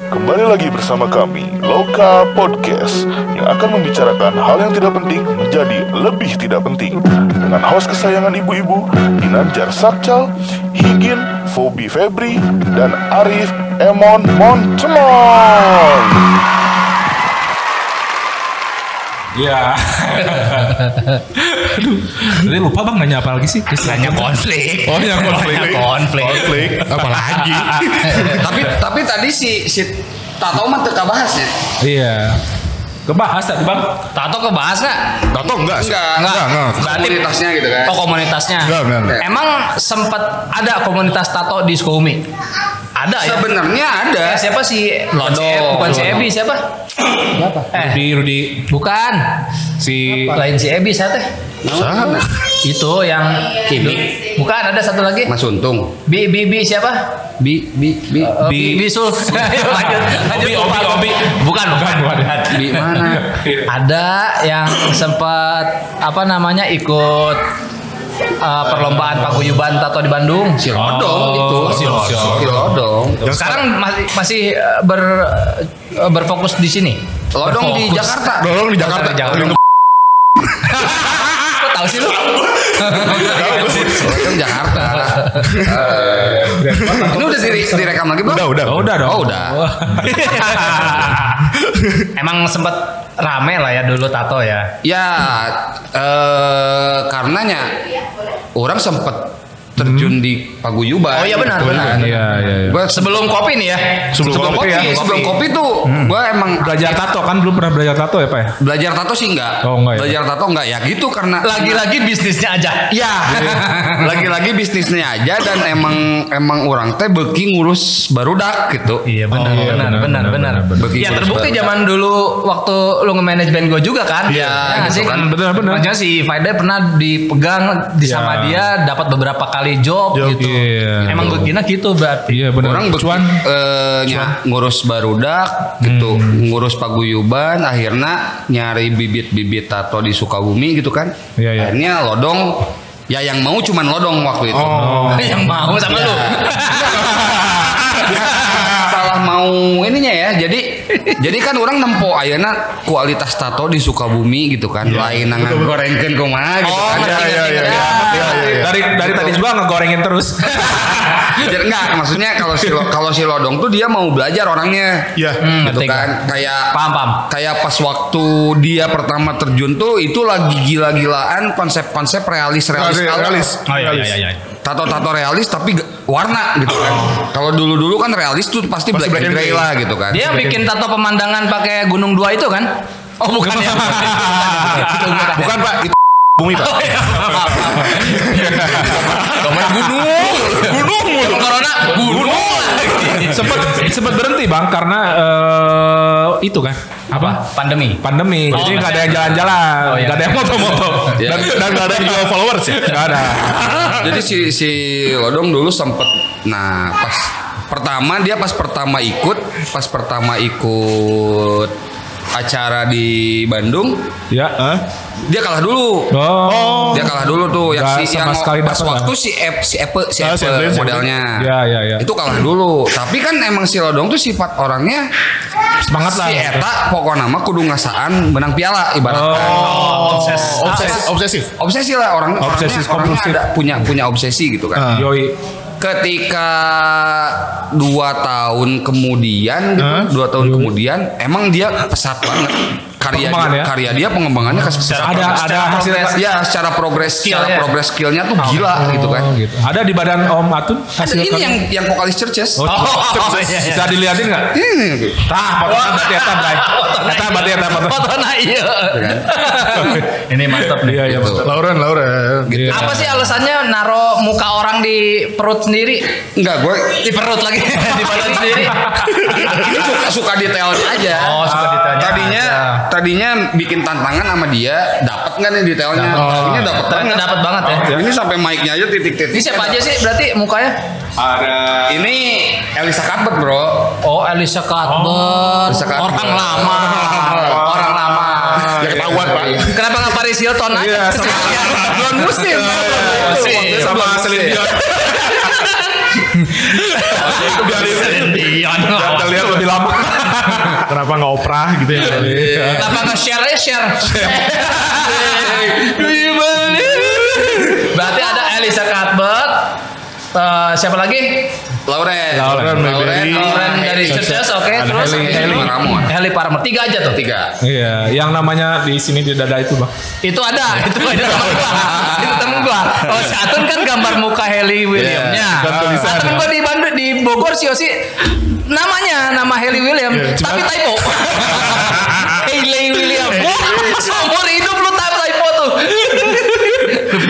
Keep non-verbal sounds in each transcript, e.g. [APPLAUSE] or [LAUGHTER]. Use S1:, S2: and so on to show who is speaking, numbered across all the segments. S1: Kembali lagi bersama kami, Loka Podcast, yang akan membicarakan hal yang tidak penting menjadi lebih tidak penting. Dengan host kesayangan ibu-ibu, Ginanjar Sakcal, Higin, Fobi Febri, dan Arif Emon Montemon.
S2: Iya. Tadi lupa bang nanya apa lagi sih?
S3: Nanya konflik.
S2: Oh, nanya konflik.
S3: Nanya konflik. [LAUGHS]
S2: Apalagi?
S4: tapi tapi tadi si si Tato mah teka bahas ya.
S2: iya. Kebahas tadi bang.
S3: Tato kebahas nggak?
S5: Tato enggak sih?
S4: Enggak,
S5: enggak. Enggak,
S3: Berarti-
S4: Komunitasnya gitu kan.
S3: Oh komunitasnya.
S5: Enggak, enggak, enggak.
S3: Emang sempat ada komunitas tato di Sukabumi? Ada ya.
S4: Sebenarnya ada.
S3: Eh, siapa sih?
S4: Lodo.
S3: Si E- Bukan si
S4: Lodo.
S3: Ebi siapa? Siapa? Eh,
S2: Rudi, Rudi,
S3: bukan.
S2: si
S3: Lain si Ebi saya teh.
S4: Sama.
S3: Itu yang
S4: Kibi.
S3: Bukan ada satu lagi.
S4: Mas Untung.
S3: Bi Bi Bi siapa?
S4: Bi bi bi
S3: Eh,
S2: Bi-
S3: Bi Sul. Ayo, [LAUGHS] lanjut. lanjut.
S2: Obi, Obi, Obi.
S3: Bukan, bukan.
S4: bi mana?
S3: Ada yang sempat apa namanya ikut eh, perlombaan paguyuban tato di Bandung.
S4: Si Lodong
S2: Oh,
S4: itu.
S2: si Lodong.
S4: Si Lodong.
S3: Yang sekarang masih masih eh, ber eh, berfokus di sini.
S4: Lodong di
S3: Berfokus.
S4: Jakarta.
S5: Dorong di Jakarta.
S3: Di Jakarta.
S5: Lodong
S3: Kok tahu sih lu?
S4: Lodong Jakarta. Eh, Ini udah dire- direkam lagi belum?
S5: Udah, udah.
S2: Oh, udah dong.
S4: Oh, udah.
S3: [LAUGHS] Emang sempat rame lah ya dulu tato ya.
S4: Ya, eh karenanya orang sempet terjun di
S3: Oh,
S4: paguyuban.
S3: iya, benar, benar.
S2: Iya, iya, iya.
S4: Gua
S3: Sebelum
S4: sebelum
S3: kopi nih ya.
S4: sebelum, kopi,
S2: kopi
S4: Iya,
S2: ya. Hmm.
S4: sebelum kopi tuh gua emang ya,
S2: Belajar tato kan belum pernah belajar tato ya pak ya?
S4: belajar tato sih enggak.
S2: Oh, enggak ya.
S4: Belajar tato enggak ya gitu karena
S3: Lagi-lagi bisnisnya aja.
S4: Ya,
S2: [LAUGHS]
S4: lagi-lagi bisnisnya aja dan emang emang orang teh beki ngurus barudak gitu.
S3: Iya benar,
S2: Oh, iya,
S3: benar,
S2: benar,
S3: benar, benar,
S2: benar,
S4: benar.
S3: Ya terbukti zaman dulu waktu lu nge-manage band gue juga kan.
S4: Iya,
S3: nggak
S4: gitu
S3: sih?
S4: kan.
S2: Benar, benar.
S3: Makanya si Faidai pernah dipegang di
S2: Iya.
S3: sama dia dapat beberapa kali job,
S2: Job,
S3: gitu.
S2: iya.
S3: Emang begina gitu berarti.
S2: Oh, Iya benar.
S4: Orang beki
S2: Cuan. Hmm.
S4: eh, nya, ngurus barudak gitu, ngurus paguyuban, akhirnya nyari bibit-bibit tato di Sukabumi gitu kan.
S2: Iya, iya.
S4: Akhirnya lodong, ya yang mau cuman lodong waktu itu.
S2: Oh.
S3: [LAUGHS]
S2: Iya.
S3: Yang mau sama lu.
S4: salah mau ininya ya jadi jadi kan orang nempo ayana kualitas tato di Sukabumi gitu kan lain nangan gorengkeun kumaha gitu kan
S3: ngerti,
S4: Ya,
S3: ngerti,
S4: ya,
S3: ngerti.
S4: ya.
S2: Dari dari tadi juga ngegorengin terus.
S4: Jadi enggak maksudnya kalau si lo- kalau si Lodong tuh dia mau belajar orangnya
S5: Iya.
S3: Hmm,
S4: gitu
S3: ngerti
S4: kan
S3: kan.
S4: kayak
S3: Paham, paham.
S4: kayak pas waktu dia pertama terjun tuh itu lagi gila-gilaan konsep-konsep realis realis
S5: Realis,
S4: kalau-
S5: realis.
S2: Oh iya iya iya.
S4: tato-tato realis tapi ge- warna gitu kan kalau dulu-dulu kan realis tuh pasti black,
S5: black
S4: and
S5: and
S4: gray
S5: gray.
S4: lah gitu kan
S3: Dia yang bikin tato pemandangan pakai gunung dua itu kan? Oh bukan
S2: [LAUGHS]
S3: ya.
S5: Bukan pak,
S4: [LAUGHS]
S5: itu bumi
S4: Oh,
S5: pak.
S4: iya. Gambar gunung gunung gunung corona gunung
S2: Sempet sempet berhenti bang karena eh, itu kan apa?
S3: Pandemi.
S2: Pandemi.
S3: Oh,
S2: Jadi nggak ada
S3: maksudnya-
S2: yang jalan-jalan,
S3: Oh, iya.
S2: nggak ada yang moto-moto,
S4: Iya.
S2: dan dan nggak ada yang jual followers ya. Nggak ada.
S4: jadi si si Lodong dulu sempet nah pas pertama dia pas pertama ikut pas pertama ikut acara di Bandung
S2: Ya.
S4: dia kalah dulu
S2: Oh.
S4: dia kalah dulu tuh yang
S2: Nggak sama
S4: si yang
S2: sekali
S4: pas
S2: dapat
S4: waktu si Ep- si Epe si
S5: Ah, si Epe,
S4: Epe
S5: si Epe.
S4: modelnya
S2: Ya ya ya.
S4: itu kalah dulu tapi kan emang si Lodong tuh sifat orangnya
S2: semangat lah.
S4: si Eta pokoknya nama kudu ngasaan menang piala ibaratnya
S2: Oh.
S3: Obses.
S5: Obses, obsesif.
S4: obsesi lah orang
S2: Obsesif
S4: orangnya, orangnya
S2: kompulsif.
S4: ada punya punya obsesi gitu kan
S5: Ah.
S2: Yoi.
S4: ketika dua tahun kemudian gitu,
S2: Ah.
S5: Hah?
S4: dua tahun kemudian emang dia pesat banget karya
S2: Pengembangan ya?
S4: karya dia pengembangannya kes-
S2: Ada
S4: pesat banget.
S2: ada
S3: Secara
S2: hasil
S3: progres.
S4: ya secara progres
S3: Skill,
S4: secara
S3: ya.
S4: progres skillnya tuh gila gitu kan
S2: Oh, gitu. Ada di badan Om Atun
S4: Ada
S2: hasil
S4: ini
S2: karya?
S4: yang yang vokalis churches
S2: Oh,
S3: Oh, iya, [LAUGHS] iya.
S2: bisa dilihatin nggak?
S4: Ini, gitu.
S2: Tah, fotonya berarti Eta,
S4: [LAUGHS]
S2: Bray. Eta berarti Eta foto.
S3: Fotona iya. Ini mantap nih.
S2: Iya, iya.
S4: gitu.
S5: Lauren, Lauren.
S2: Iya.
S3: Apa sih alasannya naro muka orang di perut sendiri?
S4: enggak gue
S3: Di perut [LAUGHS] lagi, di badan sendiri.
S4: ini suka suka detailnya aja
S3: Oh, suka ditanya.
S4: tadinya tadinya bikin tantangan sama dia dapat nggak nih detailnya ini dapat
S3: tapi
S4: banget
S3: dapat banget ya.
S4: ini sampai mic-nya aja titik-titik
S3: Ini siapa aja sih berarti mukanya?
S4: ini Elisa Kabet bro
S3: Oh, Elisa Cuthbert.
S4: Elisa Cuthbert.
S3: Orang lama. Orang lama.
S5: Ya ketahuan pak.
S3: [LAUGHS] Kenapa nggak Paris Hilton aja?
S2: Iya, sama-
S3: [LAUGHS]
S2: Iya,
S3: Belum musim.
S4: Waktu itu
S2: Sama
S4: belum
S2: Celine
S4: sih.
S2: Dion.
S3: Biarin. Iya,
S2: Kita lihat lebih lama. [LAUGHS] Kenapa nggak oprah gitu ya?
S3: Kenapa nggak share aja share? Do you believe? Berarti ada Elisa Cuthbert. eh, siapa lagi?
S4: Lauren.
S2: Lauren Mayberry.
S3: Lauren dari
S4: Iya.
S3: Churches, oke.
S2: Iya. Ada
S3: Terus
S2: Heli- ya?
S3: Heli
S4: Heli Paramore.
S3: Heli Paramore. Tiga aja tuh.
S4: Tiga.
S2: Iya, yang namanya di sini di dada itu bang.
S3: Itu
S2: Iya.
S3: ada, itu ada temen
S2: [LAUGHS]
S3: gua. itu temen gua. Oh, si Atun kan gambar muka Heli Williamnya.
S2: Iya, bukan
S3: Yeah,
S2: tulisan.
S3: Atun gua di Bandung di Bogor sih Osi namanya nama Heli William,
S2: Iya, cuma- Iya.
S3: tapi
S2: [LAUGHS]
S3: typo. Heli William. Wah, Seumur hidup lu typo typo
S2: [LAUGHS]
S3: tuh.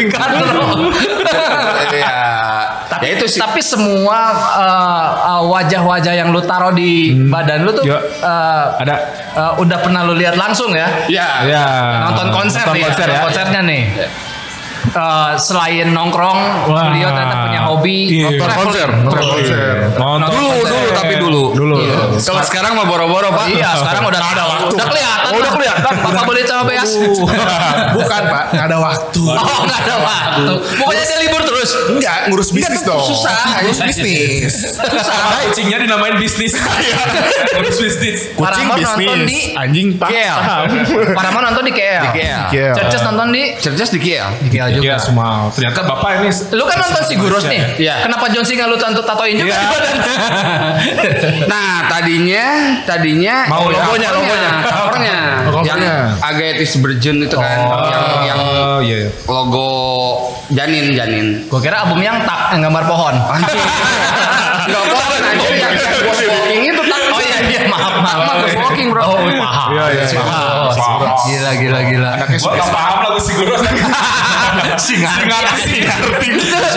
S3: Karena
S4: ya,
S3: tapi,
S4: ya itu sih.
S3: tapi semua eh, eh, wajah-wajah yang lu taruh di badan lu tuh
S2: Iya.
S3: eh,
S2: Ada.
S3: eh, udah pernah lu lihat langsung ya?
S4: ya.
S2: Ya.
S3: nonton konser
S2: Nonton
S3: nih ya,
S2: konser ya.
S3: konsernya nih. Eh, selain nongkrong,
S2: Wah.
S3: beliau ternyata punya hobi
S2: Iya.
S3: traveling.
S5: konser.
S3: Iya.
S2: Nonton
S4: Dulu,
S2: konser.
S4: dulu tapi dulu.
S2: Dulu.
S4: Iya.
S2: [LAUGHS]
S4: Kalau sekarang mah boro-boro, Pak.
S3: Iya, sekarang udah ada waktu. Udah kelihatan. udah kelihatan. Bapak boleh coba beas.
S4: [LAUGHS]
S5: Bukan pak, nggak ada waktu.
S3: [LAUGHS] Oh, enggak ada waktu. Pokoknya dia libur terus.
S5: Enggak, ngurus bisnis dong.
S3: susah.
S5: ngurus bisnis.
S2: Susah. Kucingnya dinamain [LAUGHS] bisnis. Ngurus bisnis.
S5: Kucing
S3: Paramore nonton
S5: bisnis.
S3: di-
S5: Anjing pak.
S4: KL.
S3: Paramore nonton di KL.
S4: Di KL.
S5: KL.
S3: Churches nonton di
S4: Cerdas di KL.
S3: KL
S2: Iya semua. Ternyata bapak ini.
S3: [LAUGHS] Lu kan nonton si Gurus nih.
S4: Iya.
S3: Kenapa John Cena lu tentu tatoin juga di badan? [LAUGHS]
S4: Nah, tadinya tadinya
S2: Mau ya?
S4: logonya, logonya, covernya.
S5: Oh, covernya.
S4: Yang Agatis Berjun itu kan yang yang
S2: Oh, iya. iya.
S4: logo janin janin.
S3: Gua kira album yang tak yang gambar pohon. [LAUGHS]
S4: Enggak pohon anjir yang yang ghost walking itu tak.
S3: Oh iya iya maaf maaf. Emang ghost walking bro. Oh paham.
S2: Iya, iya, iya.
S3: Oh,
S2: Paham.
S3: Gila gila gila.
S2: Gua nggak paham lagu si guru.
S3: Singar.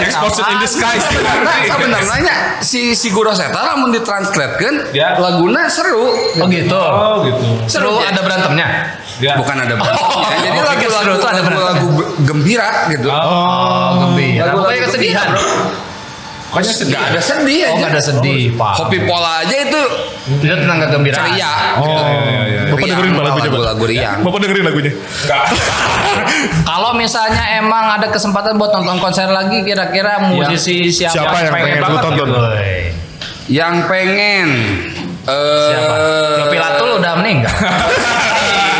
S2: Exposed in disguise. Iya.
S4: Nah, sebenarnya si si Guru Seta lamun kan, ditranslatekeun
S2: Ya.
S4: laguna seru.
S3: Oh gitu.
S2: Oh gitu.
S3: Seru ada berantemnya.
S2: Ya.
S4: Bukan ada berantemnya. Jadi
S3: Oh,
S4: lagu
S3: gitu.
S4: lagu
S3: Seru tuh ada
S4: lagu gembira gitu.
S3: Oh
S4: Hmm.
S3: gembira. Pokoknya
S4: lagu
S3: kesedihan.
S4: gembira,
S2: Pokoknya sedih.
S4: Gak ada sedih
S3: Oh
S4: aja.
S3: nggak ada sedih. Pak.
S4: Kopi pola aja itu
S3: Itu tentang kegembiraan.
S4: ceria.
S2: Oh, iya, iya, iya.
S5: Bapak dengerin Pak lagunya, Pak.
S4: lagu riang.
S5: Bapak dengerin lagunya.
S3: Kalau misalnya emang ada kesempatan buat nonton konser lagi, kira-kira musisi siapa,
S5: Siapa yang pengen lu
S2: banget
S5: tonton?
S4: Yang pengen eh
S3: Siapa? Yopi Latul udah meninggal.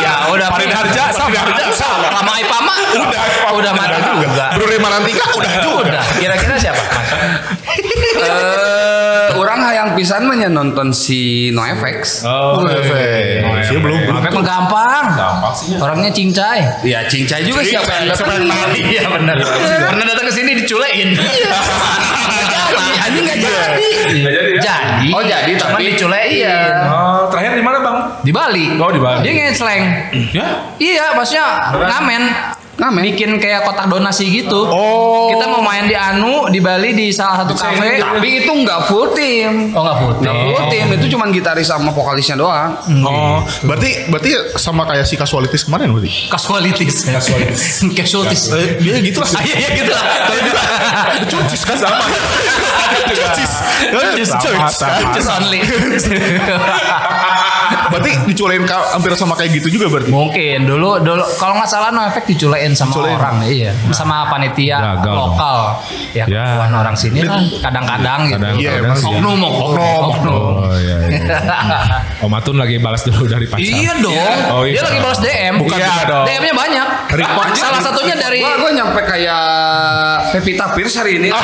S3: Iya, udah
S2: Farid
S3: meninggal.
S2: Harja sama.
S3: Lama Ipama udah udah mati juga.
S5: Bro Rima Rantika udah juga.
S3: Udah. Kira-kira siapa? Mas?
S4: eh, orang hayang pisan mah nya nonton si No Effects.
S2: Oh,
S5: Oh,
S2: iya, iya, iya.
S5: Dia belum- belum.
S3: Memang gampang.
S2: Gampang sih. ya.
S3: Orangnya cincai.
S4: Ya cincai juga siapa yang
S5: Siapa yang
S4: datang.
S5: tahu?
S3: Iya benar. Pernah datang ke sini diculekin.
S4: [LAUGHS] Jadi, anjing nggak jadi.
S2: Nggak jadi ya?
S3: Jadi.
S4: Oh, jadi,
S3: cuman
S4: tapi-
S3: diculekin.
S2: Oh, terakhir di mana bang?
S3: Di Bali.
S2: Oh, di Bali.
S3: Dia ngeceleng.
S2: Ya.
S3: Iya, maksudnya ngamen.
S4: Ngamen?
S3: Bikin kayak kotak donasi gitu.
S5: Oh.
S3: Kita mau main di Anu di Bali di salah satu kafe.
S4: Tapi itu nggak full tim.
S3: Oh nggak putih.
S4: Nggak full tim itu cuman gitaris sama vokalisnya doang.
S5: Oh, berarti berarti sama kayak si casualities kemarin berarti.
S3: Casualities. Casualities. Casualities.
S5: Eh, Dia gitu lah.
S3: Ah, iya, iya gitu lah. Kalau gitu.
S5: Cucis kan sama. Cucis.
S4: Eh,
S5: Cucis.
S2: Sama, sama.
S3: Just only.
S5: Berarti diculain ka- hampir sama kayak gitu juga berarti.
S3: Mungkin dulu dulu kalau nggak salah no effect diculein sama
S5: Diculein.
S3: orang iya sama
S2: Nah,
S3: panitia
S2: Gagal dong.
S3: lokal
S2: Ya.
S3: ya kebutuhan orang sini lah kadang-kadang gitu.
S2: Kadang-
S5: Iya,
S2: kadang
S5: emang
S2: sih.
S3: Oknum, oknum, oknum.
S2: Oh iya. iya. Om Atun lagi balas dulu dari pacar.
S3: Iya dong.
S2: Oh, iya.
S3: Dia lagi balas DM.
S2: Bukan,
S3: Iya
S2: bukan dong.
S3: DM-nya banyak. Salah satunya dari
S4: Wah, gue nyampe kayak Pevita Pierce hari
S5: Oh,
S4: ini.
S5: iya.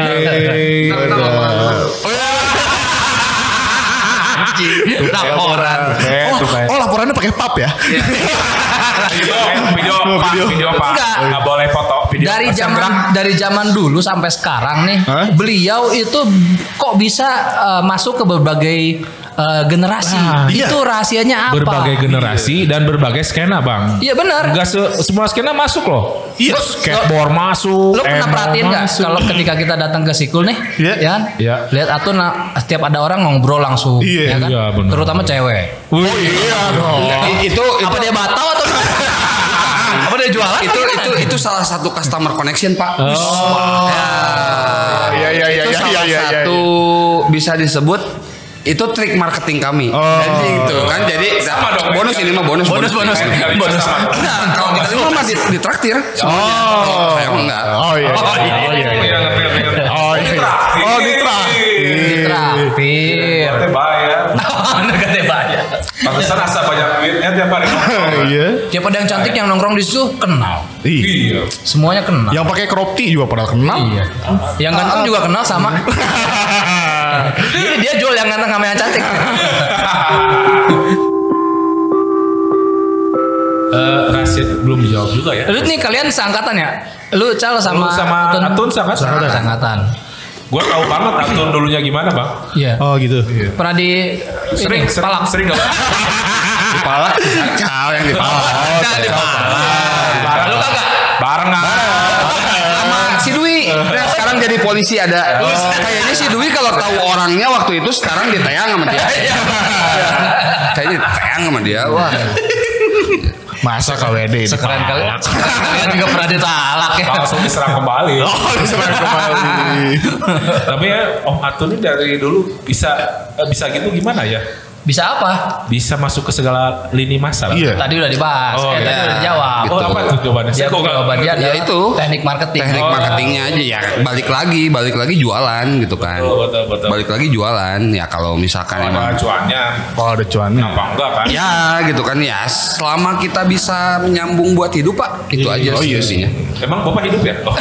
S2: Iya, Hey.
S4: Tentang laporan.
S2: Iya,
S3: laporan.
S2: Eh,
S5: Oh,
S2: tuh kayak.
S5: oh laporannya pakai pap ya?
S2: Video, video,
S5: Oh,
S2: pak,
S5: video.
S2: video, pak.
S3: Enggak.
S2: Nggak boleh foto video.
S3: dari
S2: Terus yang gerak.
S3: zaman dari zaman dulu sampai sekarang nih
S5: Hah?
S3: beliau itu kok bisa eh, masuk ke berbagai eh, generasi
S5: iya.
S3: itu rahasianya apa
S2: Ah, berbagai generasi dan berbagai skena bang.
S3: iya benar
S2: Enggak se- semua skena masuk loh.
S5: Iya.
S2: Skateboard masuk.
S3: Lo pernah
S2: emo
S3: perhatiin nggak
S2: masuk.
S3: kalau ketika kita datang ke Sikul nih,
S5: Iya.
S3: ya kan?
S2: Iya.
S3: Lihat atau setiap ada orang ngobrol langsung, ya
S5: Iya,
S3: kan?
S2: iya, benar.
S3: Terutama cewek.
S5: Oh iya dong.
S4: I- Itu
S3: Apa
S4: itu
S3: dia batal atau apa dia jualan?
S4: itu itu itu salah satu customer connection pak. Nah,
S5: Oh. Iya, iya, iya,
S4: itu
S5: iya,
S4: salah
S5: iya, iya, Oh.
S4: satu bisa disebut itu trik marketing kami. Jadi itu kan jadi
S2: Sama dong.
S4: bonus ini mah bonus
S2: Bonus, bonus.
S4: Kita bisa
S2: Bonus.
S4: sama. Nah, kalau kita ini mah di- ditraktir. semuanya.
S5: Oh.
S4: saya mah enggak.
S5: Oh iya. Oh iya.
S2: Iya, ngerti, ngerti, ngerti.
S5: Oh iya. Oh, ditraktir.
S3: Traktir.
S2: Iya.
S6: Teh bayar.
S3: [LAUGHS] Dekat ya banyak.
S6: Pantesan asa banyak duitnya tiap
S2: [LAUGHS]
S6: hari.
S2: Eh,
S5: Iya.
S3: Siapa ada yang cantik yang nongkrong di situ kenal.
S5: Ih.
S6: Iya.
S3: Semuanya kenal.
S5: Yang pakai crop tee juga pernah kenal.
S3: Iya. Yang ganteng juga kenal
S5: [LAUGHS]
S3: sama. Jadi dia jual yang ganteng sama yang cantik.
S2: Eh, Rasid belum dijawab juga ya.
S3: Lu nih kalian seangkatan ya? Lu Cal sama
S2: Sama, sama
S3: Atun.
S2: Atun sama
S3: Seangkatan.
S2: sama.
S3: Seangkatan.
S2: Gue tahu banget Atun dulunya gimana bang.
S3: Iya.
S5: Oh gitu.
S3: Pernah di
S2: Sering,
S3: ini,
S2: sering,
S3: Palak.
S2: sering gak?
S5: Dipalak. Kau yang dipalak.
S3: Nah, di
S2: Bareng lu kagak? Bareng
S5: Oh,
S4: sama
S5: iya.
S4: si
S5: Eh,
S4: Dwi. Nah, sekarang jadi polisi ada. Kayaknya si Dwi kalau tahu orangnya waktu itu sekarang ditayang sama dia.
S5: Iya.
S4: Kayaknya ditayang sama dia. Wah.
S5: Masa KWD ini.
S3: Sekeren kali. Kalian juga pernah ditalak ya.
S2: Langsung diserang kembali.
S5: Oh,
S4: iya.
S5: diserang kembali.
S2: Tapi ya Om Atun ini dari dulu bisa eh, bisa gitu gimana ya?
S3: Bisa apa?
S2: Bisa masuk ke segala lini masa. lah.
S5: Iya.
S3: Tadi udah dibahas.
S2: Oh,
S3: eh, tadi
S4: iya.
S3: udah dijawab.
S5: Gitu.
S2: Oh apa tuh jawabannya?
S3: Dia
S2: Saya kok nggak-
S3: jawaban dia
S4: Ya,
S3: adalah
S4: itu.
S3: teknik marketing.
S4: Teknik
S2: Oh.
S4: marketingnya aja ya balik lagi, balik lagi jualan gitu kan.
S2: Betul, betul, betul.
S4: Balik lagi jualan ya kalau misalkan emang
S2: Ada cuannya.
S5: Kalau ada cuannya.
S2: Apa enggak kan?
S4: Ya gitu kan ya selama kita bisa menyambung buat hidup pak gitu aja
S5: Oh,
S4: sih
S5: iya.
S4: isinya.
S2: Emang bapak hidup ya? Oh.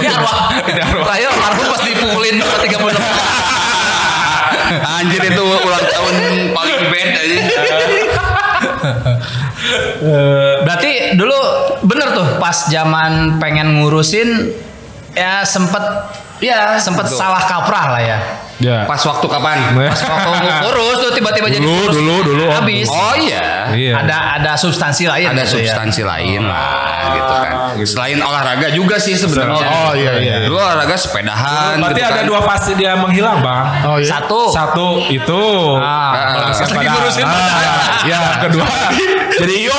S3: Dia arwah. Terakhir almarhum pas dipukulin sama 36
S4: [LAUGHS] Anjir itu ulang tahun paling bad aja.
S3: Berarti dulu bener tuh pas zaman pengen ngurusin ya sempet ya sempet
S4: Betul.
S3: salah kaprah lah ya.
S2: Ya.
S4: Pas waktu kapan?
S3: Pas waktu ngurus tuh tiba-tiba jadi
S5: Dulu,
S3: ngurus.
S5: dulu, dulu, Om.
S3: habis.
S4: Oh iya.
S2: Iya.
S3: Ada ada substansi lain. gitu
S4: Ada
S3: ya.
S4: substansi lain lah gitu kan. Selain olahraga juga sih
S5: Oh,
S4: sebenarnya.
S5: iya, iya.
S4: Dulu olahraga sepedahan.
S2: Berarti
S4: gitu
S2: ada
S4: kan.
S2: dua fase dia menghilang bang.
S5: Oh iya.
S3: Satu.
S2: Satu itu.
S3: Ah.
S2: Melangsak
S3: Lagi
S2: pada-
S3: ngurusin
S2: Ah, Ya, kedua. Jadi yo.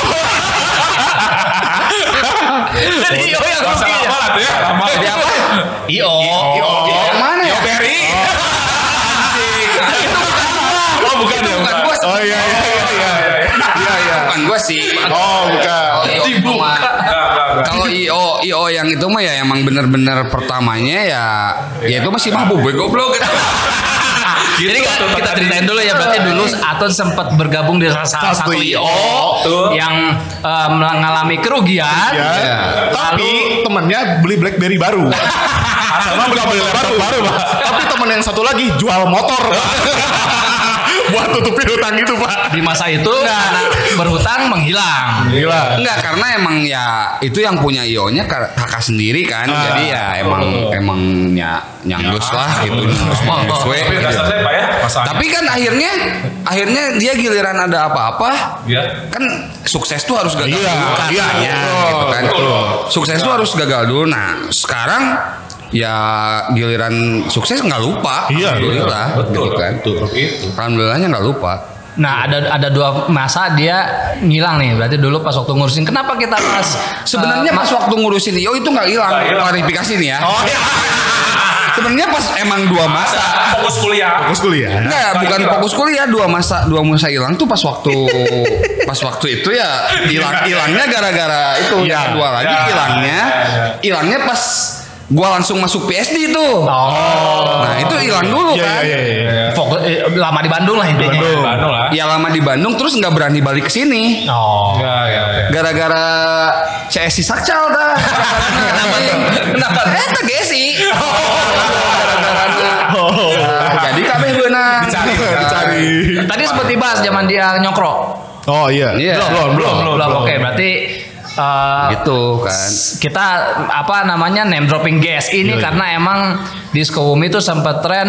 S3: Jadi
S5: Iya,
S3: Iyo yang rugi ya.
S2: Lama lah tuh ya. Lama.
S4: Jadi apa?
S3: Iyo.
S4: Yang mana ya?
S2: Beri.
S4: Oh bukan ya. Bukan gua.
S5: Oh iya iya iya. iya.
S4: Iya iya. Bukan gua sih.
S5: Oh bukan.
S4: Oh, iya.
S2: Enggak, enggak, enggak.
S4: Kalau IO IO yang itu mah ya emang bener-bener pertamanya ya ya itu masih mabuk gue goblok gitu.
S3: Jadi kan
S2: tuh
S3: kita
S5: Gitu.
S2: tadi.
S3: ceritain dulu ya berarti dulu Atun sempat bergabung di salah salah
S5: [LAUGHS]
S3: satu
S5: Satu IO.
S3: IO yang eh, mengalami kerugian.
S4: Iya.
S5: Ya. Tapi temennya beli BlackBerry baru. Sama beli laptop baru, Pak. Tapi temen yang satu lagi jual motor. Pak. Buat tutupin hutang itu, Pak.
S3: Di masa itu karena berhutang menghilang.
S5: Gila.
S4: Enggak karena emang ya itu yang punya IO-nya kak- kakak sendiri kan.
S5: Ah.
S4: Jadi ya emang
S5: Oh.
S4: emang ya nyanggus lah gitu nyanggus nyanggus we,
S2: Tapi
S4: gitu.
S2: udah selesai pak ya masalahnya.
S4: Tapi kan akhirnya akhirnya dia giliran ada apa-apa
S2: Ya.
S4: kan sukses tuh harus gagal
S5: Iya,
S4: dulu
S5: iya,
S4: katanya,
S5: betul,
S4: gitu kan.
S2: betul.
S4: Sukses tuh harus gagal dulu. Nah, sekarang ya giliran sukses nggak lupa.
S5: Iya,
S4: alhamdulillah,
S2: Betul
S4: gitu kan.
S2: Itu.
S4: Alhamdulillahnya nggak lupa.
S3: Nah ada ada dua masa dia ngilang nih. Berarti dulu pas waktu ngurusin. Kenapa kita pas Eh,
S4: Sebenarnya pas waktu ngurusin IO itu nggak hilang.
S2: Nggak hilang.
S4: Klarifikasi nih ya.
S5: Oh, iya.
S4: [LAUGHS] Sebenarnya pas emang dua masa.
S2: Fokus kuliah.
S5: Fokus kuliah.
S4: Enggak, bukan
S2: hilang.
S4: fokus kuliah dua masa dua masa hilang tuh pas waktu
S5: [LAUGHS]
S4: pas waktu itu ya hilang hilangnya gara-gara itu
S5: Iya.
S4: ya dua lagi
S2: Ya,
S4: hilangnya hilangnya pas gua langsung masuk PSD tuh. Nah, itu hilang dulu
S5: Oh. Iya
S4: kan.
S5: iya iya. iya.
S3: fokus eh, lama di Bandung Iya, lah intinya.
S2: Bandung lah.
S4: Ya lama di Bandung terus nggak berani balik ke sini.
S3: Oh.
S2: Ya, ya, ya.
S4: Gara-gara CSI Sakcal dah. Kenapa tuh? Kenapa? Eh, tak GSI.
S5: Oh.
S4: Gara-garana. Nah, Jadi kami benang.
S2: Dicari,
S4: Nah,
S5: Cari.
S3: Tadi sempat dibahas zaman dia nyokro.
S5: Oh iya.
S4: Iya.
S5: Belum belum.
S3: Belum. Oke berarti. eh,
S4: Gitu kan.
S3: kita apa namanya name dropping gas ini
S5: Iya, iya.
S3: karena emang Disco Bumi itu sempat tren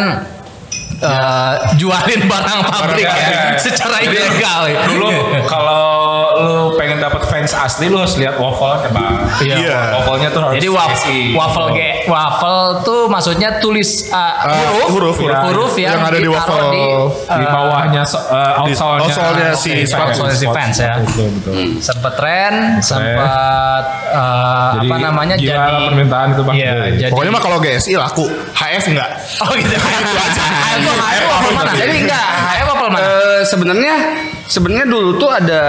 S3: eh, jualin barang
S2: Barang,
S3: pabrik
S2: iya,
S3: ya,
S2: iya.
S3: secara ilegal. ya.
S2: Dulu kalau lu pengen dapat fans asli lu harus lihat waffle ya bang.
S3: Iya.
S5: Iya.
S2: Waffle-nya tuh harus
S3: Jadi wa-
S2: isi.
S3: waffle ge- waffle tuh maksudnya tulis uh, huruf,
S5: huruf, huruf.
S3: huruf yang,
S5: Yang ada di
S3: ditaruh
S5: waffle.
S3: di,
S2: di
S3: uh,
S2: bawahnya so, uh, outsole-nya.
S5: outsole-nya si
S2: Oke,
S5: fans.
S2: outsole-nya si fans ya. Betul betul.
S3: sempat tren, sempat uh,
S2: Jadi,
S3: apa namanya
S2: gila
S3: jadi
S2: permintaan itu, Bang.
S3: Iya,
S2: Jadi- [LAUGHS]
S3: jadi
S5: Pokoknya mah kalau GSI laku, HF enggak.
S3: Oh gitu. Itu aja. Itu waffle mana?
S4: Jadi enggak.
S3: Ayo waffle mana?
S4: Eh, sebenarnya sebenarnya dulu tuh ada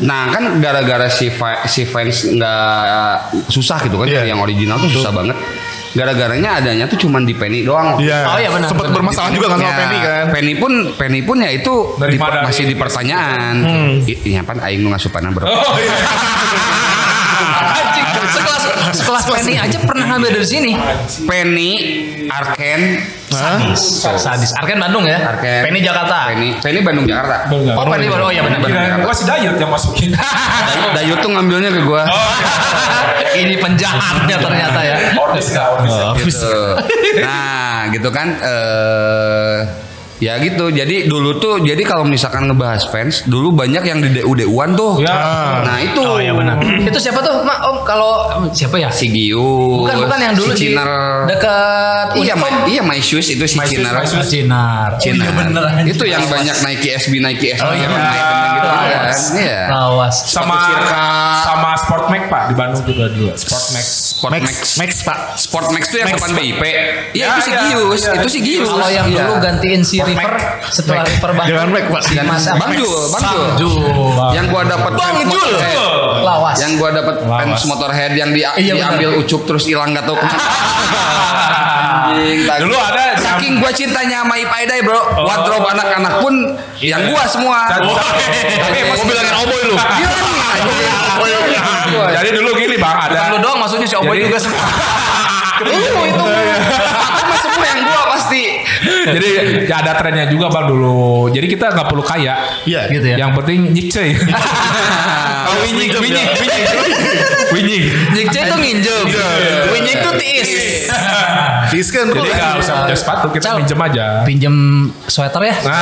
S4: nah kan gara-gara si fa- si fans nggak susah gitu kan
S5: Iya.
S4: yang original tuh susah banget gara-garanya adanya tuh cuman di Penny doang.
S5: Iya.
S3: Oh, iya, benar,
S5: Sempat
S3: benar.
S5: bermasalah juga kan sama
S4: Ya,
S5: Penny kan.
S4: Penny pun Penny pun ya itu
S6: Dari
S4: di-
S6: mana
S4: masih
S6: ini?
S4: di pertanyaan.
S5: Hmm.
S4: I- Iya pan aing nu ngasupanan
S5: [LAUGHS]
S4: berapa?
S6: Oh iya.
S3: Anjing, sekelas sekelas Penny aja pernah ngambil dari sini.
S4: Penny, Arken,
S5: Hah?
S3: Sadis. Arken Bandung ya.
S4: Arken.
S3: Penny Jakarta.
S4: Penny, Penny Bandung Jakarta.
S6: Benar.
S3: Oh Penny Bandung. Oh iya benar.
S2: [LAUGHS]
S6: Kirain gua si Dayut yang
S3: [LAUGHS]
S6: masukin.
S4: Dayu- Dayu tuh ngambilnya ke gua.
S5: Oh.
S3: Ini penjahatnya ternyata ya.
S6: Ornis nggak ornis.
S3: Oh.
S4: gitu. Nah, gitu kan eh ya gitu. Jadi dulu tuh jadi kalau misalkan ngebahas fans, dulu banyak yang di DU-DUan tuh.
S2: Ya.
S4: Nah, itu.
S3: Oh iya benar. Itu siapa tuh, Mak? Om kalau siapa ya?
S4: Si Gius.
S3: Bukan bukan yang dulu di
S4: si Ciner.
S3: dekat
S4: Iya,
S3: Unicom.
S4: my, iya my shoes itu si
S6: My Shoes,
S4: Ciner.
S6: My Shoes.
S3: Cinar. Oh,
S4: Ciner.
S3: iya bener. anjing.
S4: itu yang banyak Nike SB Nike SB
S3: Oh iya.
S4: yang naik temen gitu kan. Iya.
S3: Awas.
S6: Sama sama Sport Mac Pak di Bandung juga dulu. Sport Max.
S4: Sport Max.
S5: Max, Max Pak.
S4: Sport Max tuh yang
S5: Max.
S4: depan BIP. Iya,
S6: Ya,
S4: itu si
S6: ya,
S4: Gius,
S6: ya.
S4: itu si Gius.
S3: Kalau yang
S4: Iya.
S3: dulu gantiin si River setelah River Bandung.
S5: Jangan Mac, Pak.
S3: Si Mas apa?
S4: Bang Jul, Bang Jul.
S3: Bang Jul.
S4: Yang gua dapat
S3: Bang
S4: fans
S3: Jul.
S4: Motorhead.
S3: Lawas.
S4: Yang gua dapat fans Motorhead yang di,
S3: Iya,
S4: diambil
S3: benar.
S4: ucup terus hilang gak tau kemana. Anjing, tak-
S6: Dulu ada jam-
S4: saking gua cintanya sama Ipaidai bro, wardrobe anak-anak pun yang gua semua.
S6: Dan-
S4: Tapi emang Iya,
S5: Mau bilangin oboy lu.
S4: Bilangin, anjing. Gua-
S6: Jadi dulu gini Bang, ada
S3: Bukan lu doang maksudnya si Oboy
S6: Jadi-
S3: juga semua.
S4: Lu itu Sama semua yang gua pasti.
S2: [LAUGHS] Jadi ya ada trennya juga bang dulu. Jadi kita nggak perlu kaya.
S5: Iya.
S3: Gitu ya.
S2: Yang penting nyicil. Oh, winyik, [LAUGHS] winyik, winyik, winyik.
S3: Nyikce itu nginjem. Winyik itu tiis.
S5: Fis kan bro.
S2: Jadi nggak usah punya sepatu, kita
S3: Cal.
S2: minjem aja.
S3: Pinjem sweater ya.
S2: Nah.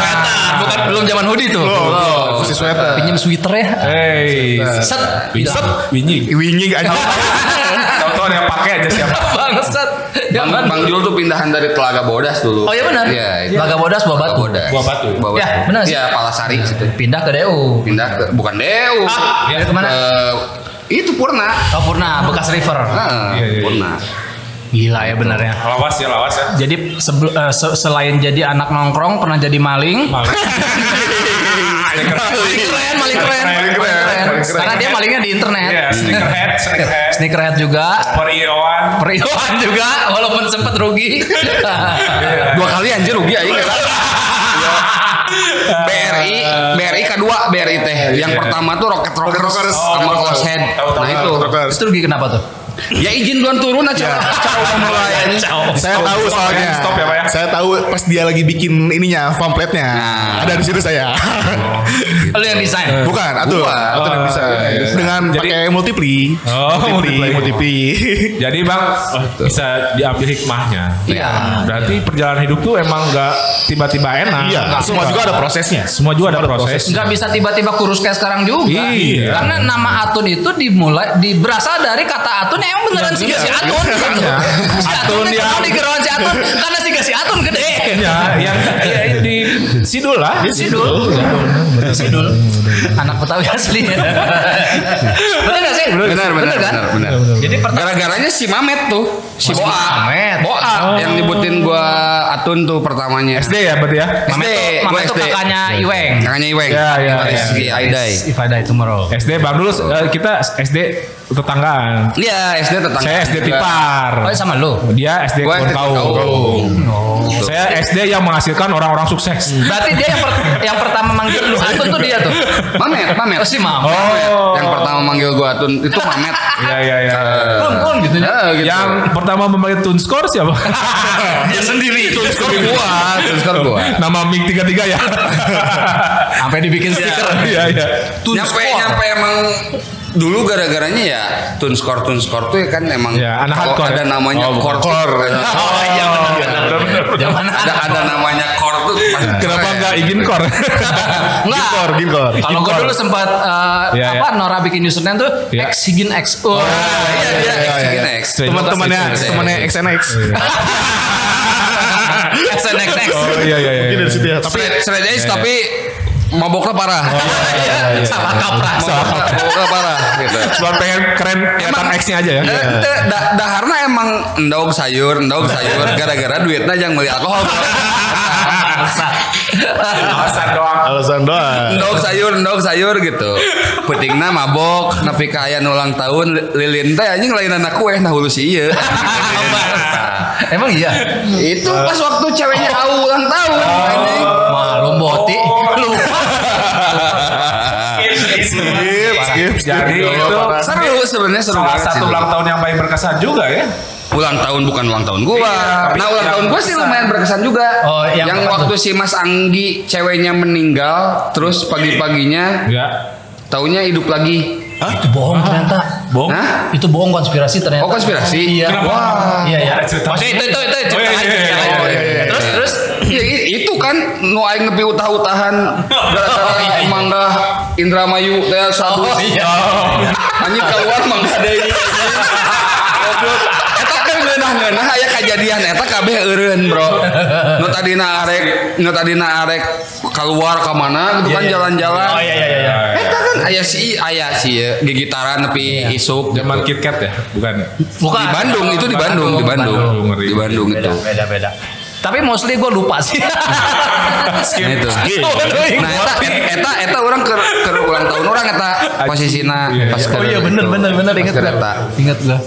S3: Bukan belum zaman hoodie tuh.
S5: Belum. Masih sweater.
S3: Pinjem sweater ya.
S2: Hey,
S3: Set.
S2: Set.
S4: [LAUGHS]
S2: winyik.
S5: Winging aja.
S6: Tonton yang pakai aja siapa.
S3: [LAUGHS] Bangsat.
S4: Bang,
S3: Jangan.
S4: Bang Jul tuh pindahan dari Telaga Bodas dulu.
S3: Oh iya benar.
S4: Iya, itu.
S3: Telaga Bodas Buah Batu.
S4: Bodas.
S6: Buah Batu.
S4: Buah
S3: Ya, benar sih.
S4: Iya, Palasari situ.
S3: Pindah ke DU.
S4: Pindah ke bukan Deu.
S3: Pindah kemana?
S4: Ke, itu Purna.
S3: Oh Purna, bekas River.
S2: Iya,
S4: Nah,
S2: iya, iya.
S4: Purna.
S3: Gila ya benernya.
S6: Lawas ya, lawas ya.
S3: Jadi sebel- eh, se- selain jadi anak nongkrong pernah jadi maling.
S6: Maling.
S3: Maling keren,
S6: Maling
S3: maling keren.
S6: keren,
S3: Maling
S6: maling
S3: keren.
S6: keren.
S3: Karena dia malingnya di internet.
S6: Iya, sneakerhead, sneakerhead.
S3: Sneakerhead juga.
S6: Periwan.
S3: Periwan juga walaupun sempat rugi.
S4: Dua kali anjir rugi aja. Iya. BRI, BRI kedua BRI teh. Yang pertama tuh Rocket Rockers,
S5: Rockers.
S4: sama
S6: Oh,
S4: Close Head.
S6: tahu, tahu,
S4: Nah
S6: tahu,
S4: itu.
S5: Terus.
S3: Itu rugi kenapa tuh? Iya.
S4: Ya izin duluan turun aja. Cara udah mulai anjing.
S5: Saya tahu
S6: stop,
S5: soalnya.
S6: ya, stop ya, Pak, ya.
S5: Saya tahu pas dia lagi bikin ininya pamfletnya.
S4: Nah.
S5: Ada di situ saya.
S3: Lu yang desain.
S5: Bukan, atuh.
S4: Bukan.
S5: Atuh yang bisa. Dengan
S6: Jadi-
S5: pakai multipli.
S2: Oh,
S5: multipli,
S2: multiply.
S5: multipli.
S2: Jadi bang bisa diambil hikmahnya.
S3: Iya.
S2: Berarti perjalanan hidup tuh emang nggak tiba-tiba enak.
S5: Iya,
S2: Nggak,
S5: semua
S2: nggak.
S5: juga ada prosesnya.
S2: Semua juga ada proses.
S3: Eh, Nggak bisa tiba-tiba kurus kayak sekarang juga.
S2: Iya.
S3: Karena nama Atun itu dimulai di berasal dari kata Atun yang beneran si si Atun. gitu. Si Atun
S2: Atun
S3: yang
S2: yang-
S3: di gerowan si Atun karena si si Atun gede.
S2: Ya, yang ya, itu di sidul lah.
S3: Sidul. Sidul. Anak Betawi asli. bener gak sih?
S4: Benar, benar,
S3: kan?
S4: benar, benar.
S3: Jadi pertama
S4: Gara-garanya si Mamet tuh, si Boa.
S3: Oh, Mamet.
S4: Boa yang nyebutin gua Atun tuh pertamanya.
S2: SD ya berarti ya.
S4: SD,
S3: Mama
S4: gua
S3: itu
S4: SD.
S3: kakaknya Iweng.
S4: Kakaknya Iweng.
S2: Ya, ya,
S4: Dari
S2: ya.
S4: si Aidai.
S3: If I die tomorrow.
S2: SD bang dulu eh, kita SD tetanggaan.
S4: Iya, SD tetangga.
S2: Saya SD
S4: juga.
S3: Oh,
S2: Tipar.
S3: sama lu.
S2: Dia SD
S4: Gua SD
S2: Kurkau.
S4: Kurkau.
S2: Saya SD yang menghasilkan orang-orang sukses.
S3: Berarti dia yang, per- yang pertama manggil lu Atun tuh dia tuh.
S4: Mamet, Mamet.
S3: Oh, si Mam.
S2: Oh.
S4: Yang pertama manggil gua Atun itu Mamet.
S2: Iya iya iya.
S3: Kun, kun, gitu ya.
S4: Eh, gitu.
S2: Yang pertama memanggil Tun Score siapa?
S4: dia sendiri itu skor gua, itu skor gua.
S2: Nama Ming 33 ya.
S3: Sampai dibikin stiker.
S2: [LAUGHS] Iya iya.
S3: Tun
S4: nyampe
S3: Score.
S4: nyampe emang dulu gara-garanya ya tun skor tun skor tuh kan emang
S2: Ya, anak
S4: kalau
S2: hardcore
S4: ada
S2: ya?
S4: namanya
S2: Oh,
S4: core, kan.
S3: Oh iya benar benar. Zaman
S4: ada ada namanya core tuh pasti
S2: Kenapa
S4: keren. Iya,
S2: nggak izin kor?
S3: Enggak.
S5: Ginkor, ginkor.
S3: Kalau gue dulu sempat eh,
S2: Iya,
S3: apa Nora bikin username tuh
S2: Iya.
S3: X Higin X. Oh,
S4: Iya,
S3: iya.
S4: dia
S5: iya,
S4: X,
S5: iya.
S4: gini, X.
S5: Teman-temannya,
S4: X, X,
S5: temannya
S4: X.
S5: XNX.
S6: Iya.
S3: XNXX.
S2: Oh
S5: [LAUGHS]
S2: iya iya iya.
S5: Mungkin dari situ ya. Tapi
S4: Straight- straight
S3: Iya,
S4: edge tapi maboknya parah
S3: Oh,
S4: [LAUGHS]
S3: Salah kaprah.
S4: maboknya parah gitu
S2: Cuma pengen keren kelihatan
S4: Emang-
S2: X-nya aja ya.
S6: Iya.
S4: Eh, teh, da- daharna emang
S6: [LAUGHS]
S4: endog sayur endog sayur gara-gara duitnya yang beli alkohol
S3: Masa.
S6: alasan doang
S5: Alasan doang.
S4: Endog sayur, endog sayur gitu. Petingna mabok, nepi ka aya nu ulang tahun li- lilin teh anjing lain anak kue nah hulu si
S6: [LAUGHS]
S4: ieu.
S3: Emang iya?
S4: Itu pas waktu ceweknya au ulang tahun anjing.
S3: Malum boti. Lupa.
S5: skip, skip.
S6: jadi itu
S4: Seru sebenarnya seru
S6: salah
S4: banget
S6: satu
S4: sih.
S6: ulang tahun yang paling berkesan juga ya
S4: ulang tahun bukan ulang tahun gua.
S6: Iya, tapi
S4: Nah, ulang
S6: yang
S4: tahun gua sih
S6: berkesan.
S4: lumayan berkesan juga.
S3: Oh, yang
S4: yang
S3: apa
S4: waktu si Mas Anggi ceweknya meninggal, terus pagi-paginya
S2: Iya.
S6: ya
S4: taunya hidup lagi.
S3: Itu bohong ternyata.
S6: bohong
S4: Hah?
S3: Itu bohong konspirasi ternyata.
S4: Oh, konspirasi?
S3: Iya.
S6: Kenapa?
S3: Iya, iya.
S6: Ada cerita
S3: Maksudnya itu itu itu
S6: Oh, iya,
S3: cerita lain,
S6: iya,
S3: cerita lain.
S6: iya, iya, iya.
S3: Terus terus
S4: Ya, i- itu kan nu aing nepi utah-utahan gara-gara mangga Indramayu teh satu.
S3: iya. Oh, iya.
S4: Anjing keluar mangga deui. Goblok. Eta kan ngeunah-ngeunah aya kejadian eta kabeh eureun, Bro. Nu tadina arek, nu tadina arek keluar ka mana gitu kan jalan-jalan.
S3: Oh iya iya iya, iya.
S5: Eh,
S4: Eta kan aya si aya si ya, gigitaran nepi isuk
S6: Iya.
S4: gitu.
S6: zaman KitKat ya bukan ya?
S3: Bukan.
S4: di Bandung itu di Bandung, di Bandung.
S6: Bandung, ngeri.
S4: Di Bandung
S3: Beda,
S4: itu.
S3: beda, beda. Tapi mostly gue lupa sih.
S4: Nah itu.
S2: Iya.
S4: Nah eta eta eta orang ke ke ulang tahun orang eta posisina pas ke
S3: Oh iya bener
S4: itu,
S3: bener bener
S4: pas
S3: inget
S4: ke
S3: gak?
S4: eta.
S3: Inget gak?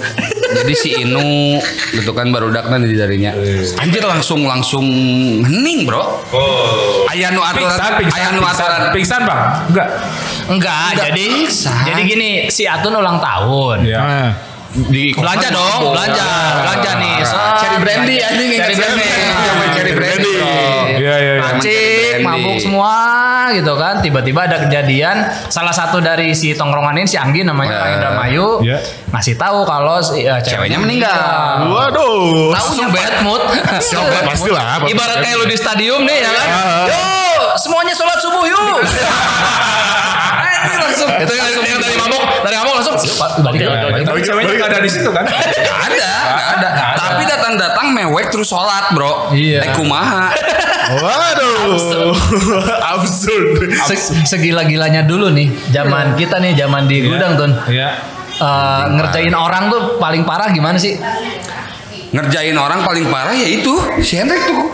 S4: Jadi si Inu gitu kan barudakna di darinya.
S3: Iya.
S4: Anjir langsung langsung hening, Bro. Oh. Aya nu aturan
S6: pingsan pingsan
S4: aya nu
S6: pingsan
S4: aturan
S6: pingsan bang enggak
S3: Enggak, jadi
S4: pingsan.
S3: jadi gini si Atun ulang tahun.
S2: Iya.
S6: ya
S5: Nah,
S4: di
S3: Belanja dong, belanja, belanja nih. So,
S4: Cherry brandy
S3: Cherry
S4: anjing ingat
S3: brandy.
S4: saya. Cherry brandy.
S6: Iya, iya, iya.
S3: Acik, mabuk semua gitu kan. Tiba-tiba ada kejadian. Salah satu dari si tongkrongan ini si Anggi namanya Pak
S4: Ya.
S3: Indra Mayu
S6: Ya.
S3: ngasih tahu kalau si, eh,
S4: Ceweknya
S3: ceweknya
S4: meninggal.
S3: meninggal.
S5: waduh.
S3: Tahunya bad mood. [LAUGHS]
S5: Sobat pastilah. apa-
S3: Ibarat kayak lu di stadium nih ya kan. Yo, semuanya sholat subuh [LAUGHS] yuk. Eh, ini langsung itu yang yang dari mabok, dari mabok langsung balik Iya, balik.
S2: Iya.
S6: tapi ceweknya nggak ada di situ kan
S4: Gak ada, gak ada. Tapi datang-datang mewek terus sholat bro.
S3: Iya.
S4: Eh kumaha.
S5: Waduh. Absurd.
S3: Se- Segila-gilanya dulu nih zaman kita nih zaman di gudang tuh.
S2: Iya.
S6: ya
S3: Eh, ngerjain orang tuh paling parah gimana [LAUGHS] sih?
S4: Ngerjain orang paling parah ya itu si Hendrik tuh.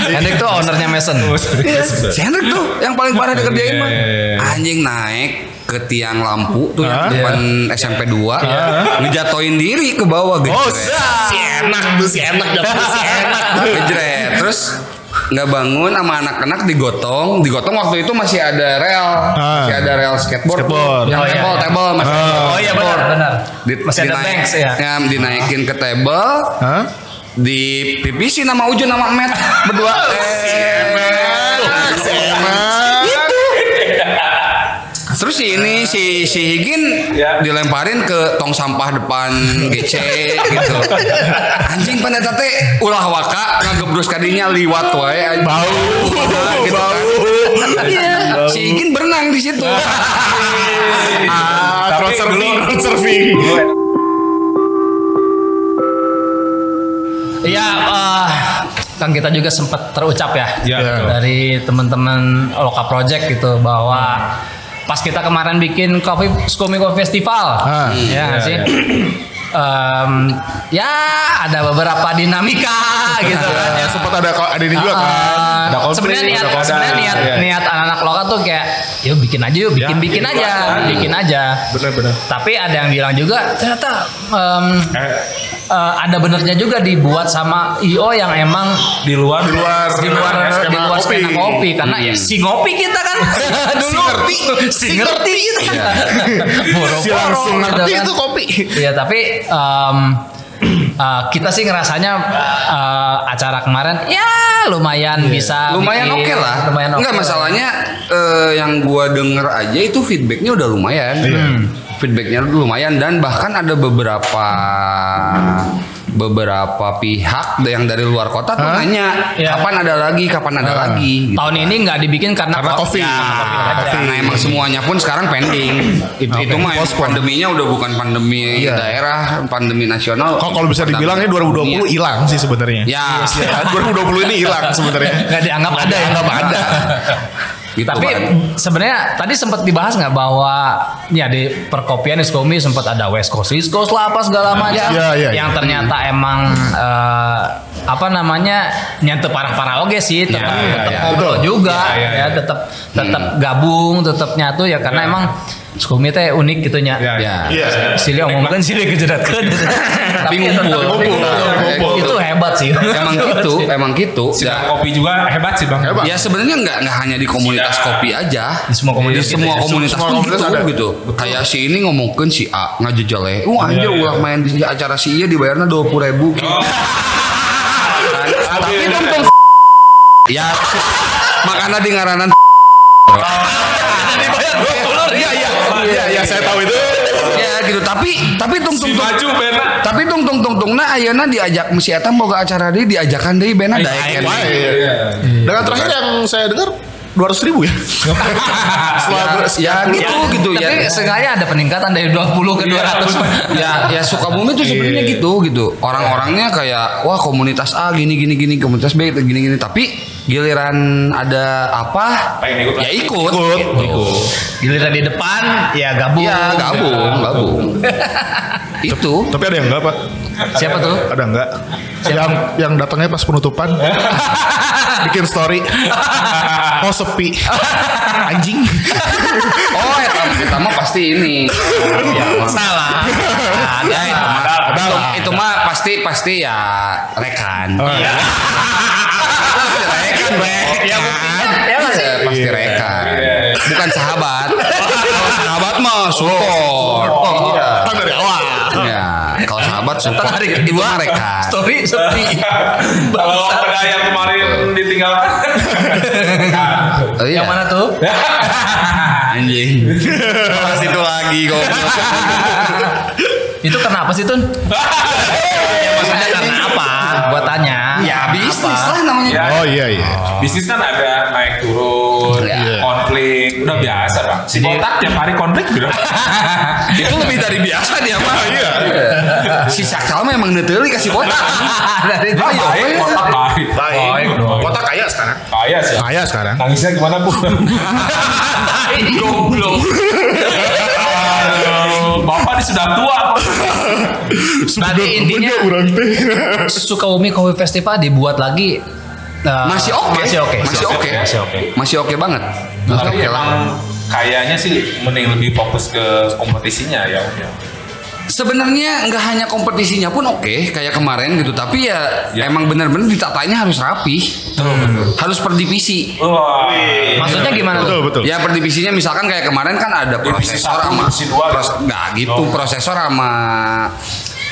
S3: Hendrik tuh ownernya Mason.
S6: Oh,
S4: si
S5: Iya.
S4: Hendrik tuh yang paling parah dikerjain mah.
S6: Iya, iya, iya.
S4: Anjing naik ke tiang lampu tuh
S5: Ah,
S4: yang
S5: iya.
S4: depan SMP 2 ngejatoin diri ke bawah gitu.
S5: Oh, si enak tuh, si enak jatuh, si enak.
S4: Ngejret. Terus nggak bangun sama anak-anak digotong digotong waktu itu masih ada rel
S5: Ah.
S4: masih ada rel skateboard,
S5: Skateboard.
S4: yang
S3: Oh, iya,
S4: table
S3: iya.
S4: table masih ada
S5: Ah.
S3: Oh iya benar benar. Masih ada
S4: dinaik-
S3: Banks ya.
S4: ya, dinaikin ke table
S5: Hah?
S4: di PPC nama Ujun nama Matt berdua
S5: Oh,
S4: Eh, iya.
S5: Si enak.
S4: terus si ini si si Higin dilemparin ke tong sampah depan GC gitu anjing pan eta teh ulah waka ngagebrus kadinya liwat wae anjing.
S5: Bau,
S4: Nah, gitu kan. Iya, si Higin berenang di situ
S5: [LAUGHS] Ah, crowd surfing, crowd surfing.
S3: Iya, eh, kan kita juga sempat terucap ya,
S6: Iya, betul.
S3: dari teman-teman Loka Project gitu bahwa pas kita kemarin bikin Coffee Skomiko Festival,
S5: Ah,
S3: ya nggak
S6: iya,
S3: sih. Em, ya ada beberapa dinamika gitu kan ya.
S5: Ya, sempat ada ada ini juga kan.
S3: Ah,
S5: Ada konflik,
S3: sebenarnya niat
S5: ada konflik.
S3: sebenarnya niat
S6: Iya.
S3: niat anak-anak lokal tuh kayak yuk bikin aja yuk bikin
S6: bikin
S3: bikin aja
S6: aja.
S3: bikin aja
S6: benar-benar
S3: tapi ada yang bilang juga ternyata em,
S6: eh,
S3: eh, ada benernya juga dibuat sama io yang emang
S6: di luar di luar
S3: di luar di luar
S5: kopi.
S3: skena kopi karena ya, si ngopi kita kan dulu
S5: ngerti.
S3: si ngerti kita kan Boro-boro
S5: Si langsung
S3: gitu
S5: ngerti
S3: kan.
S5: itu kopi.
S3: Iya tapi em, eh, kita sih ngerasanya eh, acara kemarin ya lumayan bisa
S4: lumayan oke
S3: bikin-
S4: lah
S3: Ah, iya, lumayan oke
S4: nggak
S3: lah.
S4: masalahnya eh, yang gua denger aja itu feedbacknya udah lumayan
S5: Iya.
S3: Hmm.
S4: feedbacknya lumayan dan bahkan ada beberapa beberapa pihak yang dari luar kota tuh nanya
S3: Iya. Ah.
S4: kapan ada lagi kapan ada lagi gitu.
S3: tahun ini nggak dibikin karena,
S5: Karena
S3: ko-
S5: Covid.
S3: Ya,
S5: Karena
S3: aja.
S5: Covid.
S4: Nah emang semuanya pun sekarang pending Itu, itu mah emang pandeminya udah bukan pandemi
S3: Iya.
S4: daerah Pandemi nasional
S5: Kok kalau bisa
S4: Pandemi
S5: dibilang ini 2020
S4: dunia.
S5: hilang sih sebenarnya.
S4: Ya,
S5: Ya, 2020 ini hilang sebenarnya.
S3: nggak dianggap ada ya nggak ada
S4: [LAUGHS] gitu
S3: tapi
S4: kan.
S3: sebenarnya tadi sempat dibahas nggak bahwa ya di perkopian di Skomi sempat ada West Coast East Coast lah apa segala macam
S5: Iya, iya,
S3: yang ternyata emang eh, apa namanya nyante parah-parah oke sih tetap
S2: Ya,
S3: tetap
S2: ya, ya.
S3: ngobrol
S5: Betul.
S3: juga
S2: Ya, ya,
S3: ya,
S2: ya.
S3: tetap tetap gabung tetap nyatu ya karena emang Sukumi teh unik gitu nya.
S2: Ya, ya.
S5: Iya.
S3: Silih omongkan silih kejeratkan. Tapi
S4: ngumpul.
S3: tetap-
S5: Ngumpul, ngumpul.
S3: Itu hebat sih.
S4: Emang
S3: [LAUGHS]
S4: gitu, emang gitu. Ya,
S2: Sidang kopi juga hebat sih bang.
S5: Iya. Hebat. Iya.
S4: ya sebenarnya nggak nggak hanya di komunitas kopi aja.
S3: Di semua komunitas
S4: Di semua
S3: gitu ya.
S4: komunitas
S5: Semua
S4: pun
S5: komunitas
S4: gitu
S5: ada. Iya,
S4: gitu. Kayak si ini ngomongin si A ngajejale. Uh anjir ulah main di acara si Iya dibayarnya dua puluh ribu.
S5: Oh.
S4: [LAUGHS] Tapi kan tong ya makanya di ngaranan dibayar dua puluh. Iya iya iya iya saya tahu itu. Ya gitu tapi tapi tong tong tong-
S2: Baju bena.
S4: tapi tung tung tung tung nah ayeuna diajak mesti eta boga acara deui diajakan deui bena daek
S5: Wah, iya. Dengan terakhir yang saya dengar 200 ribu ya. Setelah ber-
S4: ya
S5: sekian
S4: gitu gitu ya
S3: Tapi sengaja ada peningkatan dari 20 ke 200.
S4: ya ya Sukabumi tuh sebenarnya gitu gitu orang-orangnya kayak wah komunitas A gini gini gini komunitas B gitu, gini gini tapi giliran ada apa
S2: Pengen ikut.
S4: ya ikut Gitu.
S3: Giliran di depan ya gabung.
S4: ya gabung gabung [LAUGHS] itu
S5: Tapi ada yang enggak, Pak?
S3: Siapa tuh?
S5: Ada enggak? Yang yang datangnya pas penutupan. bikin story. Oh sepi. Anjing.
S4: oh eta kita mah pasti ini Ya, mah.
S3: Salah.
S4: ada itu mah itu, itu mah pasti pasti ya rekan Ah, Iya. rekan Bre. ya pasti pasti rekan bukan [LAUGHS] sahabat Iya. Oh, kalau sahabat mah support Iya.
S5: Kan dari awal.
S4: ya kalau sahabat support
S3: Tarik
S4: itu mah kan. rekan
S3: Story sepi.
S2: Kalau ada yang kemarin ditinggal.
S4: Oh, iya.
S3: Yang mana tuh?
S4: [LAUGHS] anjing pas itu lagi kok
S3: Itu kenapa sih Tun? Ya, Maksudnya karena apa? Gua tanya.
S4: ya bisnis lah namanya
S2: Ya,
S5: Oh iya iya.
S2: Bisnis kan ada naik turun,
S4: Iya.
S2: konflik, udah biasa bang. Si botak tiap hari konflik bro.
S4: itu lebih dari biasa dia mah iya si sakal memang neteli
S3: [LAUGHS]
S4: kasih kotak dari
S2: Baik,
S3: Iya, ya.
S2: baik, botak baik.
S5: Baik.
S2: dong.
S5: Kota kaya sekarang.
S2: Kaya sih.
S5: Kaya sekarang.
S2: Nangisnya gimana bu?
S4: goblok
S2: Aduh, Bapak ini sudah tua. Pak.
S3: Berarti intinya
S5: Orang teh.
S3: Sukabumi Coffee Festival dibuat lagi eh,
S4: masih oke
S3: Masih oke.
S4: masih oke
S2: Masih oke.
S4: masih oke banget masih
S2: Tapi
S4: oke lah
S2: emang kayaknya sih mending lebih fokus ke kompetisinya ya.
S4: sebenarnya nggak hanya kompetisinya pun oke kayak kemarin gitu tapi ya, emang benar-benar ditatanya harus rapi
S2: Hmm.
S4: harus per divisi
S2: Wah.
S3: Maksudnya gimana
S5: Betul
S3: tuh?
S5: betul.
S4: Ya per divisinya misalkan kayak kemarin kan ada
S2: Divisi
S4: prosesor
S2: satu,
S4: sama
S2: divisi dua.
S4: pros- nggak gitu prosesor sama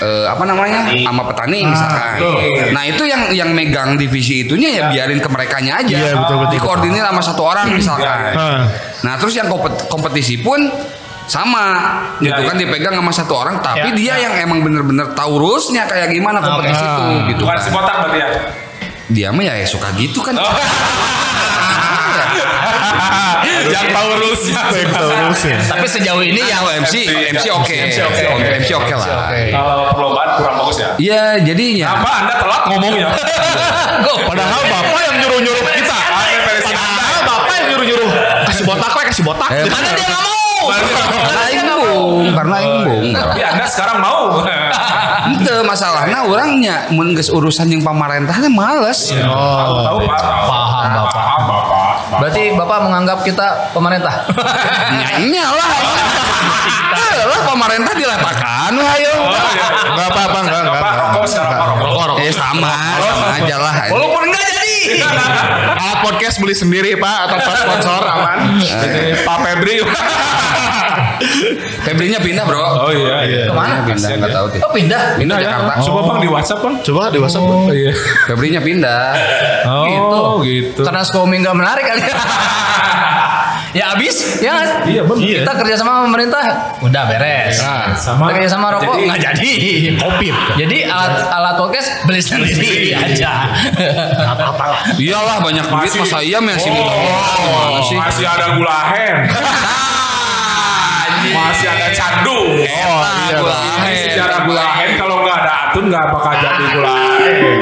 S4: eh, apa namanya sama petani misalkan. Nah itu yang yang megang divisi itunya ya biarin ke merekanya aja.
S5: Iya, betul, betul,
S4: Dikoordinir sama satu orang misalkan.
S2: Iya,
S5: iya.
S4: Nah terus yang kompet- kompetisi pun sama
S2: Iya,
S4: gitu
S2: iya.
S4: kan dipegang sama satu orang tapi
S2: Ya,
S3: Iya,
S4: dia yang emang bener-bener tahu rulesnya kayak gimana kompetisi
S5: Oke.
S4: itu gitu
S2: Ah, Bukan Oh.
S4: kan.
S2: si botak berarti ya.
S4: Dia mah ya suka gitu kan.
S2: [LAUGHS]
S4: [LAUGHS]
S2: Yang tahu rules-nya.
S5: Baik tahu rules-nya.
S3: Tapi sejauh ini ya,
S4: Ini [LAUGHS]
S3: yang
S4: yang MC, MC oke,
S2: MC oke.
S4: MC oke lah.
S2: Kalau perlombaan kurang bagus ya.
S4: Iya, jadinya.
S2: Apa Anda telat ngomongnya?
S5: Padahal bapak yang nyuruh nyuruh kita.
S2: [LAUGHS] Ada versi Anda.
S5: Padahal bapak yang nyuruh nyuruh kasih botak we kasih botak.
S4: Eh,
S3: Karena dia nggak mau.
S4: Karena aing bung, karena aing bung.
S2: Tapi Anda sekarang [LAUGHS] mau.
S4: Ente masalahnya orangnya mun geus urusan yang pemerintahnya males.
S2: Iya.
S5: Oh.
S2: Tahu tahu Pak.
S3: Paham, Bapak.
S2: Paham Bapak.
S3: Berarti Bapak menganggap kita pemerintah.
S4: [LAUGHS] Nyanyinya lah. Eh, Lah pemerintah diletakkan lah ayo.
S5: Enggak apa-apa, enggak enggak
S2: Bapak rokok sekarang Pak rokok.
S4: Eh sama, sama aja lah.
S3: Walaupun nggak jadi.
S5: Alat podcast beli sendiri, Pak, atau pas sponsor aman.
S2: Pak Febri.
S4: Febrinya pindah, Bro.
S2: Oh iya iya.
S4: Mana pindah enggak tahu deh.
S3: Oh pindah.
S4: Pindah ya. Jakarta.
S2: Coba Bang di WhatsApp Bang.
S5: Coba di WhatsApp. Bang.
S2: iya.
S4: Febrinya pindah.
S2: Oh gitu.
S3: Karena Skomi nggak menarik kali. [LAUGHS] ya abis, ya nggak?
S2: [LAUGHS] Iya benar.
S3: Kita kerja sama pemerintah, udah beres.
S2: Ya, sama-
S3: kerja sama rokok
S2: jadi-
S3: nggak jadi.
S4: Oh,
S5: Covid.
S3: Jadi alat alat podcast beli sendiri [LAUGHS] aja. Apa-apa
S4: Iyalah banyak duit
S2: Masih-
S4: masa iya masih minta. Gimana
S2: Oh,
S4: sih?
S2: masih ada gulahen. Masih ada candung.
S5: Oh, iya. Bang.
S2: Ini
S4: Gulahen.
S2: sejarah gulahen kalau nggak ada atun nggak bakal jadi gulahen.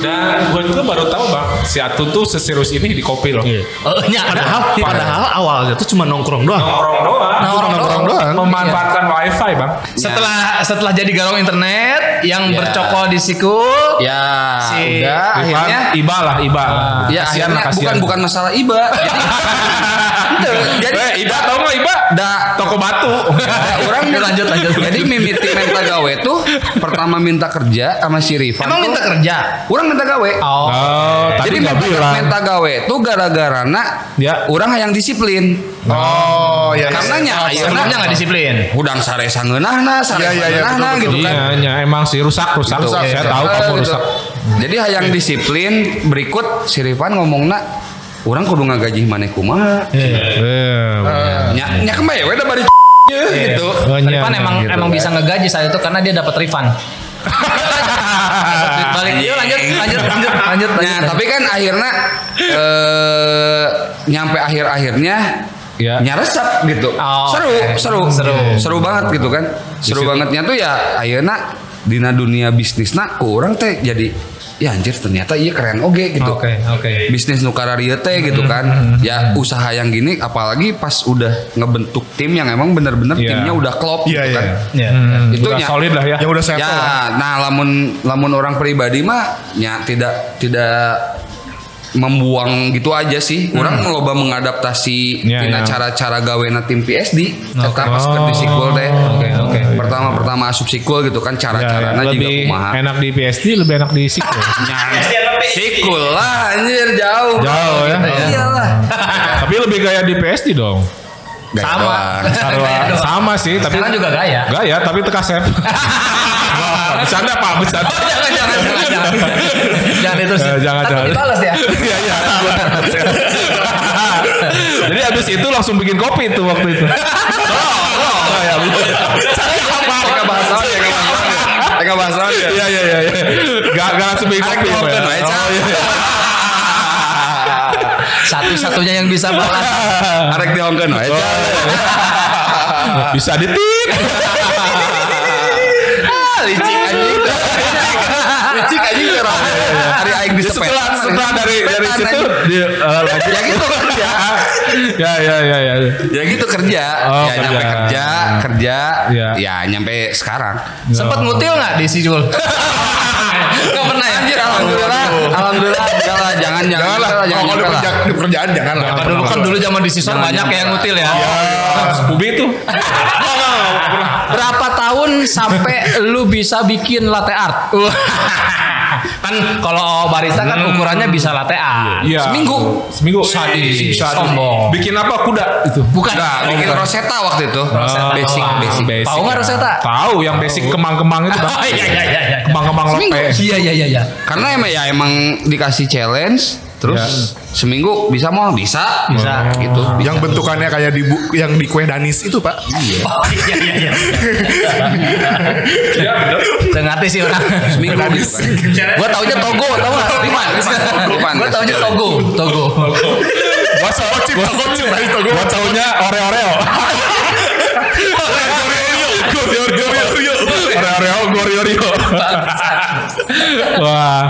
S2: Dan gue juga baru tahu bang, si Atun tuh seserius ini di kopi loh.
S3: Oh, iya.
S5: Padahal, padahal awalnya tuh cuma nongkrong doang.
S2: Nongkrong doang. Iya.
S3: Nah, orang
S5: nongkrong doang.
S2: Memanfaatkan
S4: Iya.
S2: wifi bang.
S3: Setelah setelah jadi garong internet yang bercokol di siku,
S4: Ya,
S3: Si-
S4: udah
S2: Iba-
S4: Ah, akhirnya
S2: Iba lah, Iba.
S4: ya
S2: Kasihan
S4: akhirnya
S2: lah, kasihan.
S4: bukan
S2: [LAUGHS]
S4: bukan masalah iba. Jadi, jadi
S2: Eh, Iba tau nggak Iba?
S4: da
S2: Toko batu.
S4: [LAUGHS] da Nah, orang lanjut lanjut. Jadi mimiti minta gawe tuh pertama minta kerja sama si Rifan.
S3: emang
S4: tuh,
S3: minta kerja.
S4: Orang minta gawe.
S3: Oh,
S2: Oh,
S4: eh, Jadi
S2: tapi nggak
S4: minta,
S2: bilang.
S4: minta gawe tuh gara-gara nak
S2: Ya.
S4: orang yang disiplin.
S5: Oh,
S2: iya,
S5: ya.
S4: Karena nya
S3: sebelumnya nggak disiplin.
S4: Udang sare sangeunahna, sare
S5: Ya, ya, ya,
S4: sangeunahna
S5: betul,
S4: gitu kan.
S2: Iya, iya, emang sih rusak, rusak.
S5: Rusak,
S2: Saya
S5: rusak.
S2: tahu
S4: Eh,
S2: kamu
S4: gitu.
S2: rusak.
S4: Jadi hayang disiplin berikut si Rifan ngomong nak orang kudu ngagaji maneh kumaha.
S5: Iya, Eh,
S4: Nya nya kemana ya? Udah bari gitu.
S3: Rifan emang
S2: gitu,
S3: emang bisa ngegaji saat itu karena dia dapat refund. balik. Yuk lanjut lanjut lanjut lanjut.
S4: Ah, iya. Nah,
S3: lanjut.
S4: tapi kan akhirnya eh nyampe akhir-akhirnya
S2: Ya.
S4: nyaresep gitu.
S3: Oh,
S4: seru,
S3: oke.
S4: seru,
S3: Seru.
S4: seru banget gitu kan. Seru bangetnya tuh ya akhirnya dina dunia bisnis nak orang teh jadi ya anjir ternyata iya keren oke gitu.
S7: Oke, oke.
S4: bisnis nukara teh gitu kan ya usaha yang gini apalagi pas udah ngebentuk tim yang emang bener-bener
S2: Iya.
S4: timnya udah klop
S5: Iya,
S4: gitu
S5: iya.
S4: kan
S3: Ya.
S2: Hmm,
S4: Itu
S2: udah
S4: nya-
S2: solid lah ya.
S5: Yang udah
S4: ya
S5: settle. lah.
S4: nah lamun lamun orang pribadi mah ya tidak tidak membuang gitu aja sih
S2: Hmm.
S4: orang loba mengadaptasi
S2: Iya,
S4: tina
S2: iya.
S4: cara-cara gawena tim PSD eta pas ke
S2: Oh.
S4: di sikul teh
S2: Oke, oke.
S4: pertama pertama asup sikul gitu kan
S2: Ya,
S4: cara-caranya
S2: ya,
S4: juga
S2: lebih
S4: kumaha
S2: enak di PSD, lebih enak di SQL.
S4: sikul lah anjir jauh
S2: Jauh
S3: Oh,
S2: ya.
S3: Iya. [LAUGHS]
S4: iyalah
S2: tapi lebih gaya di PSD dong.
S4: Gaya
S3: Sama.
S4: doang.
S2: Sarwa- sama sih, tapi
S3: Iya, Sekarang juga gaya.
S2: Gaya, tapi teka sep. Wah, bercanda Pak, bercanda.
S3: [LAUGHS] Jangan jangan jangan jangan. Jangan diterusin.
S2: Eh, jangan,
S3: Takut
S2: jangan.
S3: dibalas ya.
S2: Iya, iya. Jadi abis itu langsung bikin kopi tuh waktu itu. Oh, ya,
S4: Tengah bahasa ya, tengah bahasa ya.
S2: Iya, iya, iya. iya. Gak, gak langsung bikin
S4: Arek
S2: kopi. Pak,
S4: dihokeun
S2: ya.
S4: wae, Cak.
S3: Satu-satunya yang bisa balas.
S4: Arek dihokeun
S2: iya. Oh,
S4: wae, Cak.
S2: Bisa ditik.
S4: Ah, Licik anjing. Licik anjing cerah. [LAUGHS] Hari aing ya. di sepet.
S2: Setelah, setelah dari dari
S4: Sepetan,
S2: situ
S4: anjing.
S2: dia eh, lanjut.
S4: Ya gitu kerja.
S2: Ya, ya, ya, ya.
S4: Ya gitu kerja.
S2: Oh,
S4: ya nyampe
S2: kerja.
S4: kerja, kerja.
S2: Iya.
S4: Ya nyampe sekarang.
S3: Sempet ngutil nggak di Sijul? Gak pernah ya?
S4: Anjir, alhamdulillah. Alhamdulillah. Enggak lah, jangan jangan.
S5: Jangan lah,
S4: Jangan, jangan,
S5: kalau di
S4: jangan lah.
S5: kerja- di pekerjaan jangan lah.
S3: Apa dulu kan dulu zaman di Sison
S4: Jangan,
S3: banyak
S4: jangan. Iya.
S3: yang ngutil ya.
S2: Bubi itu.
S3: Berapa tahun sampai lu bisa bikin latte art? [LAUGHS] kan kalau barista kan
S4: Hmm.
S3: ukurannya bisa latte art.
S2: Iya.
S4: Seminggu.
S2: Seminggu.
S3: Sadis,
S2: Sadis.
S3: sombong.
S2: Bikin apa kuda itu?
S3: Bukan.
S4: Enggak, Oh, bikin Rosetta waktu itu. Basic, basic.
S3: Tahu nggak
S2: ya.
S3: Rosetta?
S2: Tahu yang basic kemang-kemang itu bang.
S3: Oh, [LAUGHS] iya, iya, iya, iya.
S2: Kemang-kemang lope.
S3: Iya iya iya iya.
S4: Karena emang ya emang dikasih challenge terus
S2: Ya.
S4: seminggu bisa mau bisa
S3: Bisa.
S4: gitu.
S5: Yang bentukannya kayak di bu- yang di kue danis itu, Pak.
S3: Oh, iya iya iya. Saya ngerti sih orang.
S4: Seminggu gitu kan.
S3: Gua taunya Togo, tau gak? Riman.
S4: Riman.
S3: Gua taunya Togo, Togo.
S2: Gua tau gua Gua taunya [LAUGHS] Oreo-Oreo. Oreo-Oreo, Oreo-Oreo. Wah,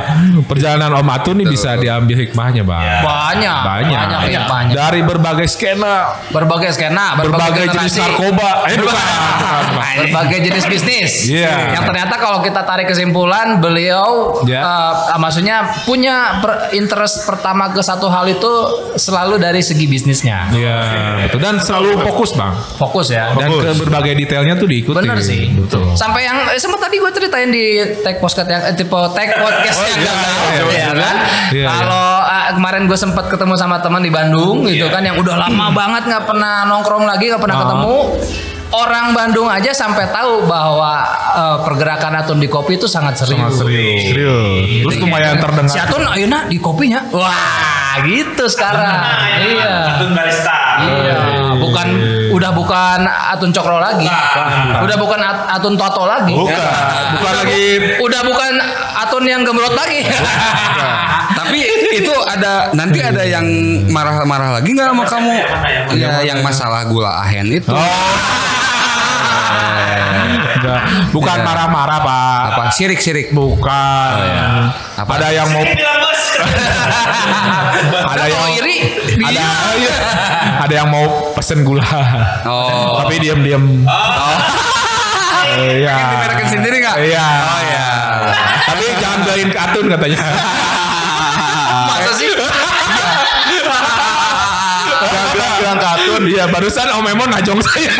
S2: perjalanan Om Atu nih bisa diambil hikmahnya, Bang.
S3: Banyak.
S2: Banyak.
S3: Banyak, iya, banyak.
S2: Dari berbagai skena,
S3: Berbagai skena,
S2: berbagai jenis
S3: generasi.
S2: narkoba. Eh, bukan.
S3: [LAUGHS] berbagai jenis bisnis.
S2: Iya.
S3: Yang ternyata kalau kita tarik kesimpulan beliau
S2: Iya.
S3: eh, maksudnya punya per- interest pertama ke satu hal itu selalu dari segi bisnisnya.
S2: Iya, betul. Dan selalu fokus, Bang.
S3: Fokus ya.
S2: Dan ke berbagai detailnya tuh diikuti.
S3: Bener sih.
S2: Betul.
S3: Sampai yang eh, sempat tadi gue ceritain di tag podcast yang eh, tipe tag podcast
S2: Oh,
S3: yang
S2: iya,
S3: gagal,
S2: iya,
S3: ya
S2: iya,
S3: kan?
S2: iya.
S3: Kalau eh, kemarin gue sempat ketemu sama teman di Bandung
S2: Iya.
S3: gitu kan yang udah
S2: [CLEARS THROAT]
S3: lama banget nggak pernah nongkrong lagi nggak pernah
S2: Ah.
S3: ketemu. Orang Bandung aja sampai tahu bahwa eh, pergerakan Atun di kopi itu sangat serius. Kan?
S2: Serius. Terus lumayan terdengar.
S3: Si Atun ayeuna di kopinya. Wah, gitu sekarang.
S2: Nah,
S3: iya.
S8: Atun barista.
S3: Iya, bukan udah bukan Atun Cokro lagi. Udah bukan At- Atun Toto lagi.
S2: Bukan, bukan
S3: Iya.
S2: lagi
S3: Udah bukan Atun yang gemrot lagi.
S4: Tapi itu ada nanti ada yang marah-marah lagi nggak sama kamu? Iya, Ya yang masalah gula ahen itu.
S2: Enggak. Bukan
S4: Iya.
S2: marah-marah pak.
S4: Apa? Sirik sirik.
S2: Bukan.
S5: Oh, iya.
S4: Apa?
S2: Ada yang mau ada
S3: Ada
S2: yang
S3: yang iri di
S2: ada iya. [LAUGHS] ada yang mau pesen gula.
S4: Oh.
S2: Tapi diam-diam. Oh. [LAUGHS] Iya.
S4: Pengen dimerekin sendiri nggak?
S2: Iya.
S4: Oh ya.
S2: Tapi jangan beliin katun
S5: [LAUGHS]
S2: katanya.
S3: masa sih?
S2: Jangan bilang, bilang katun. Iya, barusan Om Emon najong saya.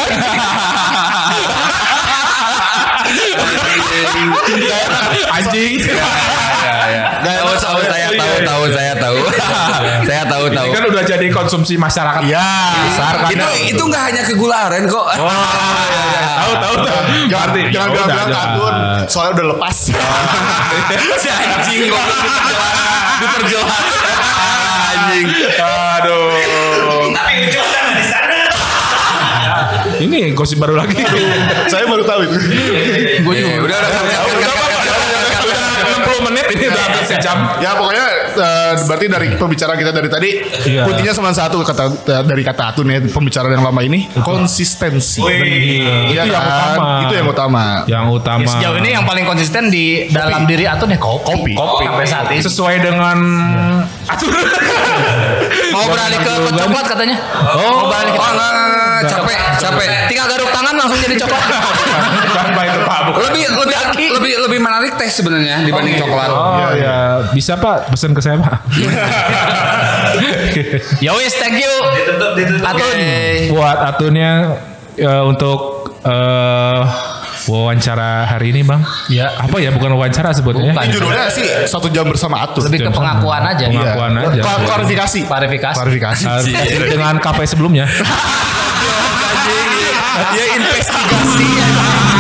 S2: Anjing.
S4: Tahu tahu saya tahu tahu saya tahu. Saya tahu
S2: Ini
S4: tahu.
S2: kan udah jadi konsumsi masyarakat
S5: Iya.
S2: besar kan.
S4: Itu itu nggak hanya ke gula aren kok.
S2: Tahu tahu tahu.
S5: Jangan
S2: Berarti,
S5: jangan
S2: ya udah,
S5: bilang-bilang
S2: jangan.
S5: katun, soalnya udah lepas.
S4: [LAUGHS] Si anjing kok diperjelas. Anjing.
S9: Tapi lucu kan di sana.
S2: Ini gosip baru lagi.
S5: Saya baru tahu itu.
S4: Gue juga udah udah
S2: Udah 60 menit ini [LAUGHS] udah habis sejam.
S5: Ya pokoknya eh, berarti dari pembicaraan kita dari tadi
S2: Iya.
S5: putihnya cuma satu kata dari kata Atun ya pembicaraan yang lama ini konsistensi. Iya
S2: Itu yang
S5: kan?
S2: utama. Ya.
S5: Itu yang utama.
S2: Yang utama.
S3: [LAUGHS] Iya, Sejauh ini yang paling konsisten di dalam diri Atun ya kopi.
S5: Kopi.
S3: Sampai saat ini.
S2: sesuai dengan atur.
S3: Mau beralih ke ke coklat katanya.
S4: Oh, balik. Oh, enggak, enggak, enggak. capek, capek.
S3: Tinggal Oh, garuk tangan langsung jadi coklat.
S2: Tanpa itu Pak. Bukan.
S4: Lebih lebih lebih lebih menarik teh sebenarnya dibanding coklat.
S2: Oh ya, bisa Pak pesan ke saya Pak.
S3: [LAUGHS] ya wis, thank you.
S9: Ditutup ditutup.
S3: Atun.
S2: Buat aturnya eh, untuk eh, wawancara hari ini Bang. Ya apa ya bukan wawancara sebetulnya.
S3: Iya. Bukan.
S5: Judulnya sih satu jam bersama Atun.
S3: Lebih ke pengakuan aja. Iya.
S2: Pengakuan. Apaan aja.
S5: Kla- Klarifikasi.
S3: Klarifikasi.
S5: Klarifikasi.
S2: Eh, dengan kafe sebelumnya.
S4: Ya investigasi.